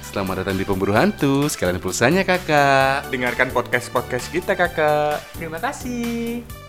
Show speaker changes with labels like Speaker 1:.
Speaker 1: Selamat datang di Pemburu Hantu. Sekalian pulsanya kakak.
Speaker 2: Dengarkan podcast-podcast kita, Kakak. Terima kasih.